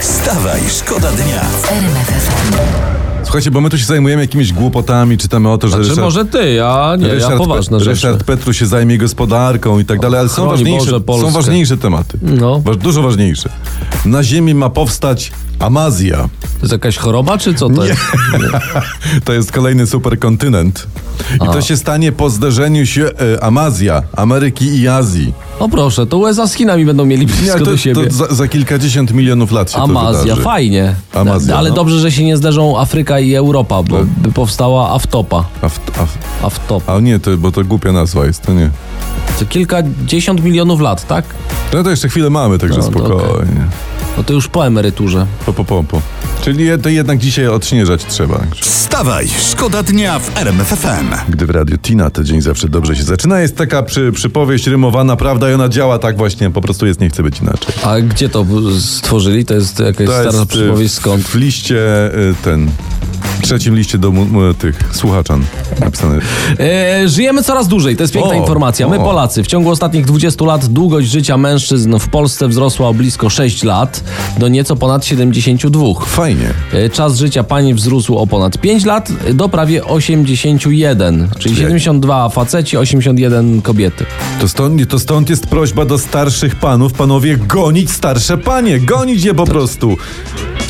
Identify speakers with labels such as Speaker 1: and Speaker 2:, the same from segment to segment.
Speaker 1: Wstawaj, szkoda dnia.
Speaker 2: Słuchajcie, bo my tu się zajmujemy jakimiś głupotami, czytamy o to, że
Speaker 3: Czy
Speaker 2: Ryszard,
Speaker 3: Znaczy, może ty, a nie,
Speaker 2: Ryszard,
Speaker 3: ja poważne
Speaker 2: Pe-
Speaker 3: rzeczy.
Speaker 2: Ryszard Petru się zajmie gospodarką i tak dalej, ale są
Speaker 3: Chroń
Speaker 2: ważniejsze,
Speaker 3: Boże
Speaker 2: są
Speaker 3: Polskę.
Speaker 2: ważniejsze tematy.
Speaker 3: No.
Speaker 2: Waż, dużo ważniejsze. Na ziemi ma powstać Amazja.
Speaker 3: To jest jakaś choroba, czy co to jest?
Speaker 2: To jest kolejny superkontynent. I to się stanie po zderzeniu się e, Amazja, Ameryki i Azji.
Speaker 3: O proszę, to USA z Chinami będą mieli
Speaker 2: Nie,
Speaker 3: blisko
Speaker 2: to,
Speaker 3: do siebie.
Speaker 2: to za, za kilkadziesiąt milionów lat się to
Speaker 3: Amazja,
Speaker 2: wydarzy.
Speaker 3: fajnie.
Speaker 2: Amazja,
Speaker 3: Ale
Speaker 2: no.
Speaker 3: dobrze, że się nie zderzą Afryka i Europa, bo by powstała Aftopa.
Speaker 2: A, w- a, w-
Speaker 3: Aftop.
Speaker 2: a nie, to, bo to głupia nazwa jest, to nie.
Speaker 3: To kilkadziesiąt milionów lat, tak?
Speaker 2: No to jeszcze chwilę mamy, także
Speaker 3: No, to
Speaker 2: spokojnie.
Speaker 3: No to już po emeryturze.
Speaker 2: Po, po, po, po. Czyli je- to jednak dzisiaj odśnieżać trzeba.
Speaker 1: Wstawaj, szkoda dnia w RMFFM.
Speaker 2: Gdy w Radio Tina to dzień zawsze dobrze się zaczyna, jest taka przy, przypowieść rymowana, prawda, i ona działa tak właśnie, po prostu jest, nie chce być inaczej.
Speaker 3: A gdzie to stworzyli? To jest jakaś
Speaker 2: To
Speaker 3: stara
Speaker 2: jest, y,
Speaker 3: przypowieść skąd?
Speaker 2: W liście y, ten, w trzecim liście do mu, mu, tych słuchaczan napisane.
Speaker 3: E, żyjemy coraz dłużej, to jest piękna
Speaker 2: O,
Speaker 3: informacja. My,
Speaker 2: o.
Speaker 3: Polacy, w ciągu ostatnich 20 lat długość życia mężczyzn w Polsce wzrosła o blisko 6 lat do nieco ponad 72.
Speaker 2: Fajnie.
Speaker 3: E, Czas życia pań wzrósł o ponad 5 lat do prawie 81, czyli 72 faceci, 81 kobiety.
Speaker 2: To stąd, to stąd jest prośba do starszych panów, panowie, gonić starsze panie, gonić je po prostu.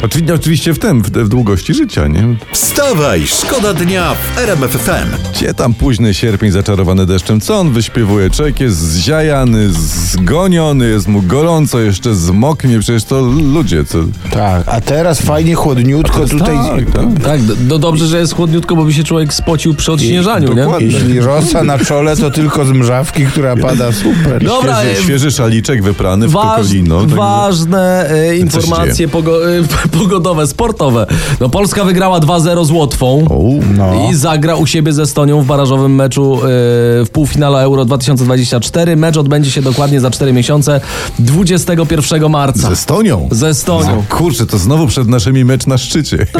Speaker 2: Oczywiście, oczywiście w tym, w, w długości życia, nie?
Speaker 1: Wstawaj, szkoda dnia w RMFFM.
Speaker 2: Gdzie tam późny sierpień zaczarowany deszczem? Co on wyśpiewuje? Człowiek jest zziajany, zgoniony, jest mu gorąco, jeszcze zmoknie. Przecież to ludzie, co...
Speaker 4: Tak, a teraz fajnie chłodniutko tutaj.
Speaker 2: Tak, tak.
Speaker 3: Tak, do, do dobrze, że jest chłodniutko, bo by się człowiek spocił przy odśnieżaniu, nie?
Speaker 2: dokładnie.
Speaker 4: Jeśli rosa na czole, to tylko z mrzawki, która pada No, super.
Speaker 3: Dobra,
Speaker 2: Świeży,
Speaker 3: e,
Speaker 2: świeży szaliczek wyprany w
Speaker 3: Waż,
Speaker 2: kokolino. tak-
Speaker 3: ważne e,
Speaker 2: Co się
Speaker 3: informacje pogo, e, pogodowe, sportowe. No, Polska wygrała 2-0 z Łotwą.
Speaker 2: U,
Speaker 4: No.
Speaker 3: I zagra u siebie ze Estonią w barażowym meczu e, w półfinale Euro 2024. Mecz odbędzie się dokładnie za 4 miesiące, 21 marca.
Speaker 2: Z Estonią.
Speaker 3: Z Estonią.
Speaker 2: Kurczę, to znowu przed naszymi mecz na szczycie.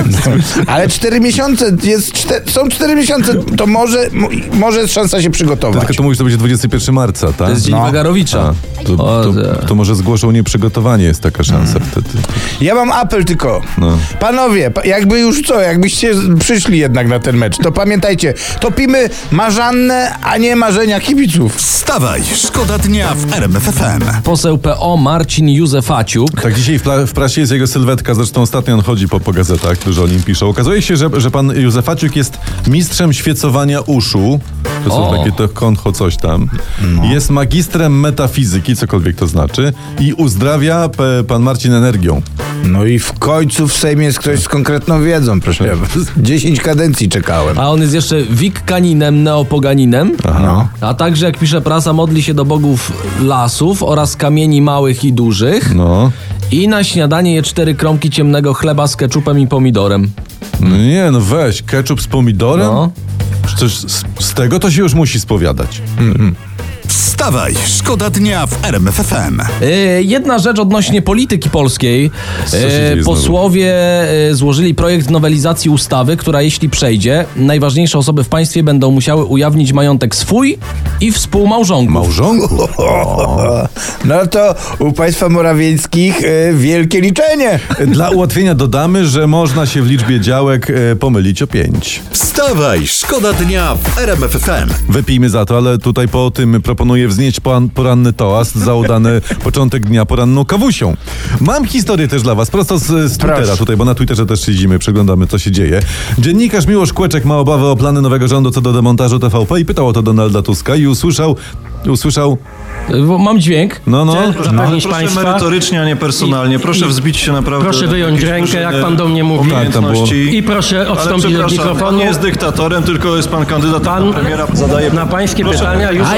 Speaker 4: Ale cztery miesiące jest, czte, są cztery miesiące, to może, m- może jest szansa się przygotować.
Speaker 2: Tylko Tak, to mówisz, to będzie 21 marca, tak?
Speaker 3: tak. To jest dzień
Speaker 4: No.
Speaker 3: Wagarowicza.
Speaker 2: A, to,
Speaker 3: O, Mm.
Speaker 2: to,
Speaker 3: tak.
Speaker 2: to może zgłoszą nieprzygotowanie, jest taka szansa wtedy.
Speaker 4: Ja mam apel tylko.
Speaker 2: No.
Speaker 4: Panowie, pa- jakby już co, jakbyście z- przyszli jednak na ten mecz, to pamiętajcie, topimy marzanne, a nie marzenia kibiców.
Speaker 1: Wstawaj, szkoda dnia w RMFFM.
Speaker 3: Poseł PO Marcin Józefaciuk.
Speaker 2: Tak, dzisiaj w, pla- w prasie jest jego sylwetka, zresztą ostatnio on chodzi po, po gazetach, dużo o nim pisze. Okazuje się, że, że pan Józefaciuk jest mistrzem świecowania uszu, to są
Speaker 3: O. No.
Speaker 2: takie to koncho coś tam. Jest magistrem metafizyki, cokolwiek to znaczy, i uzdrawia pe, pan Marcin energią.
Speaker 4: No i w końcu w Sejmie jest ktoś z konkretną wiedzą, proszę. Dziesięć kadencji czekałem.
Speaker 3: A on jest jeszcze wikkaninem, neopoganinem.
Speaker 4: No.
Speaker 3: A także, jak pisze prasa, modli się do bogów lasów oraz kamieni małych i dużych.
Speaker 2: No.
Speaker 3: I na śniadanie je cztery kromki ciemnego chleba z keczupem i pomidorem.
Speaker 2: No Nie, no weź, ketchup z pomidorem?
Speaker 3: No.
Speaker 2: Przecież z, z tego to się już musi spowiadać.
Speaker 1: Wstawaj, szkoda dnia w RMFFM.
Speaker 3: E, Jedna rzecz odnośnie polityki polskiej.
Speaker 2: Co się
Speaker 3: E,
Speaker 2: dzieje znowu?
Speaker 3: Posłowie e, złożyli projekt nowelizacji ustawy, która jeśli przejdzie, najważniejsze osoby w państwie będą musiały ujawnić majątek swój i współmałżonków.
Speaker 2: Małżonku?
Speaker 4: No to u państwa Morawieckich y, wielkie liczenie.
Speaker 2: Dla ułatwienia dodamy, że można się w liczbie działek e, pomylić o pięć.
Speaker 1: Wstawaj, szkoda dnia w RMFFM.
Speaker 2: Wypijmy za to, ale tutaj po tym proponuję wznieść poan- poranny toast za udany początek dnia poranną kawusią. Mam historię też dla was, prosto z, z Twittera
Speaker 4: Proszę.
Speaker 2: tutaj, bo na Twitterze też siedzimy, przeglądamy co się dzieje. Dziennikarz Miłosz Kłeczek ma obawy o plany nowego rządu co do demontażu TVP i pytał o to Donalda Tuska i usłyszał, usłyszał,
Speaker 3: E, bo Mam dźwięk.
Speaker 2: no no,
Speaker 5: Proszę,
Speaker 6: No.
Speaker 5: proszę
Speaker 6: Proszę państwa.
Speaker 5: merytorycznie, a nie personalnie. Proszę wzbić się naprawdę.
Speaker 6: proszę
Speaker 5: do
Speaker 6: wyjąć
Speaker 5: jakiejś
Speaker 6: rękę, jak
Speaker 5: dużej
Speaker 6: pan do mnie mówi.
Speaker 2: Tak, tam było.
Speaker 5: umiejętności.
Speaker 6: I proszę
Speaker 5: Ale
Speaker 6: odstąpić od
Speaker 5: przepraszam, Pan
Speaker 6: mikrofonu.
Speaker 5: nie jest dyktatorem, tylko jest pan kandydat
Speaker 6: Pan
Speaker 5: na premiera. Zadaje
Speaker 6: na pańskie pytania już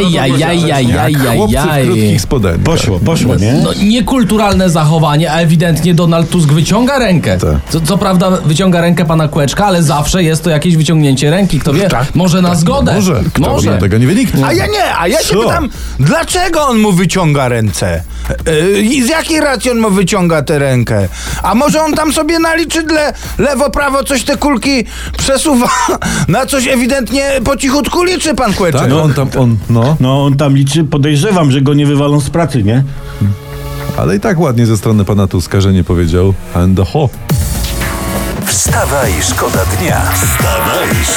Speaker 2: chłopcy w krótkich
Speaker 3: Ajajajajajaj.
Speaker 2: spodenkach. Poszło, poszło, nie?
Speaker 3: No, niekulturalne zachowanie, a ewidentnie Donald Tusk wyciąga rękę.
Speaker 2: Tak.
Speaker 3: Co, co prawda wyciąga rękę pana Kłeczka, ale zawsze jest to jakieś wyciągnięcie ręki. Kto wie, może na zgodę.
Speaker 2: tak. Może, kto
Speaker 3: może.
Speaker 2: może. tego nie wyniknie.
Speaker 4: A ja nie, a ja się
Speaker 2: Co?
Speaker 4: pytam, dlaczego on mu wyciąga ręce? Yy, I z jakiej racji on mu wyciąga tę rękę? A może on tam sobie na liczydle lewo, prawo coś te kulki przesuwa? Na coś ewidentnie po cichutku liczy pan Kłeczek.
Speaker 2: Tak, No, on tam, on, no.
Speaker 7: No on tam liczy, podejrzewam, że go nie wywalą z pracy, nie?
Speaker 2: Ale i tak ładnie ze strony pana Tuska, że nie powiedział and the ho.
Speaker 1: Wstawaj, szkoda dnia. Wstawaj,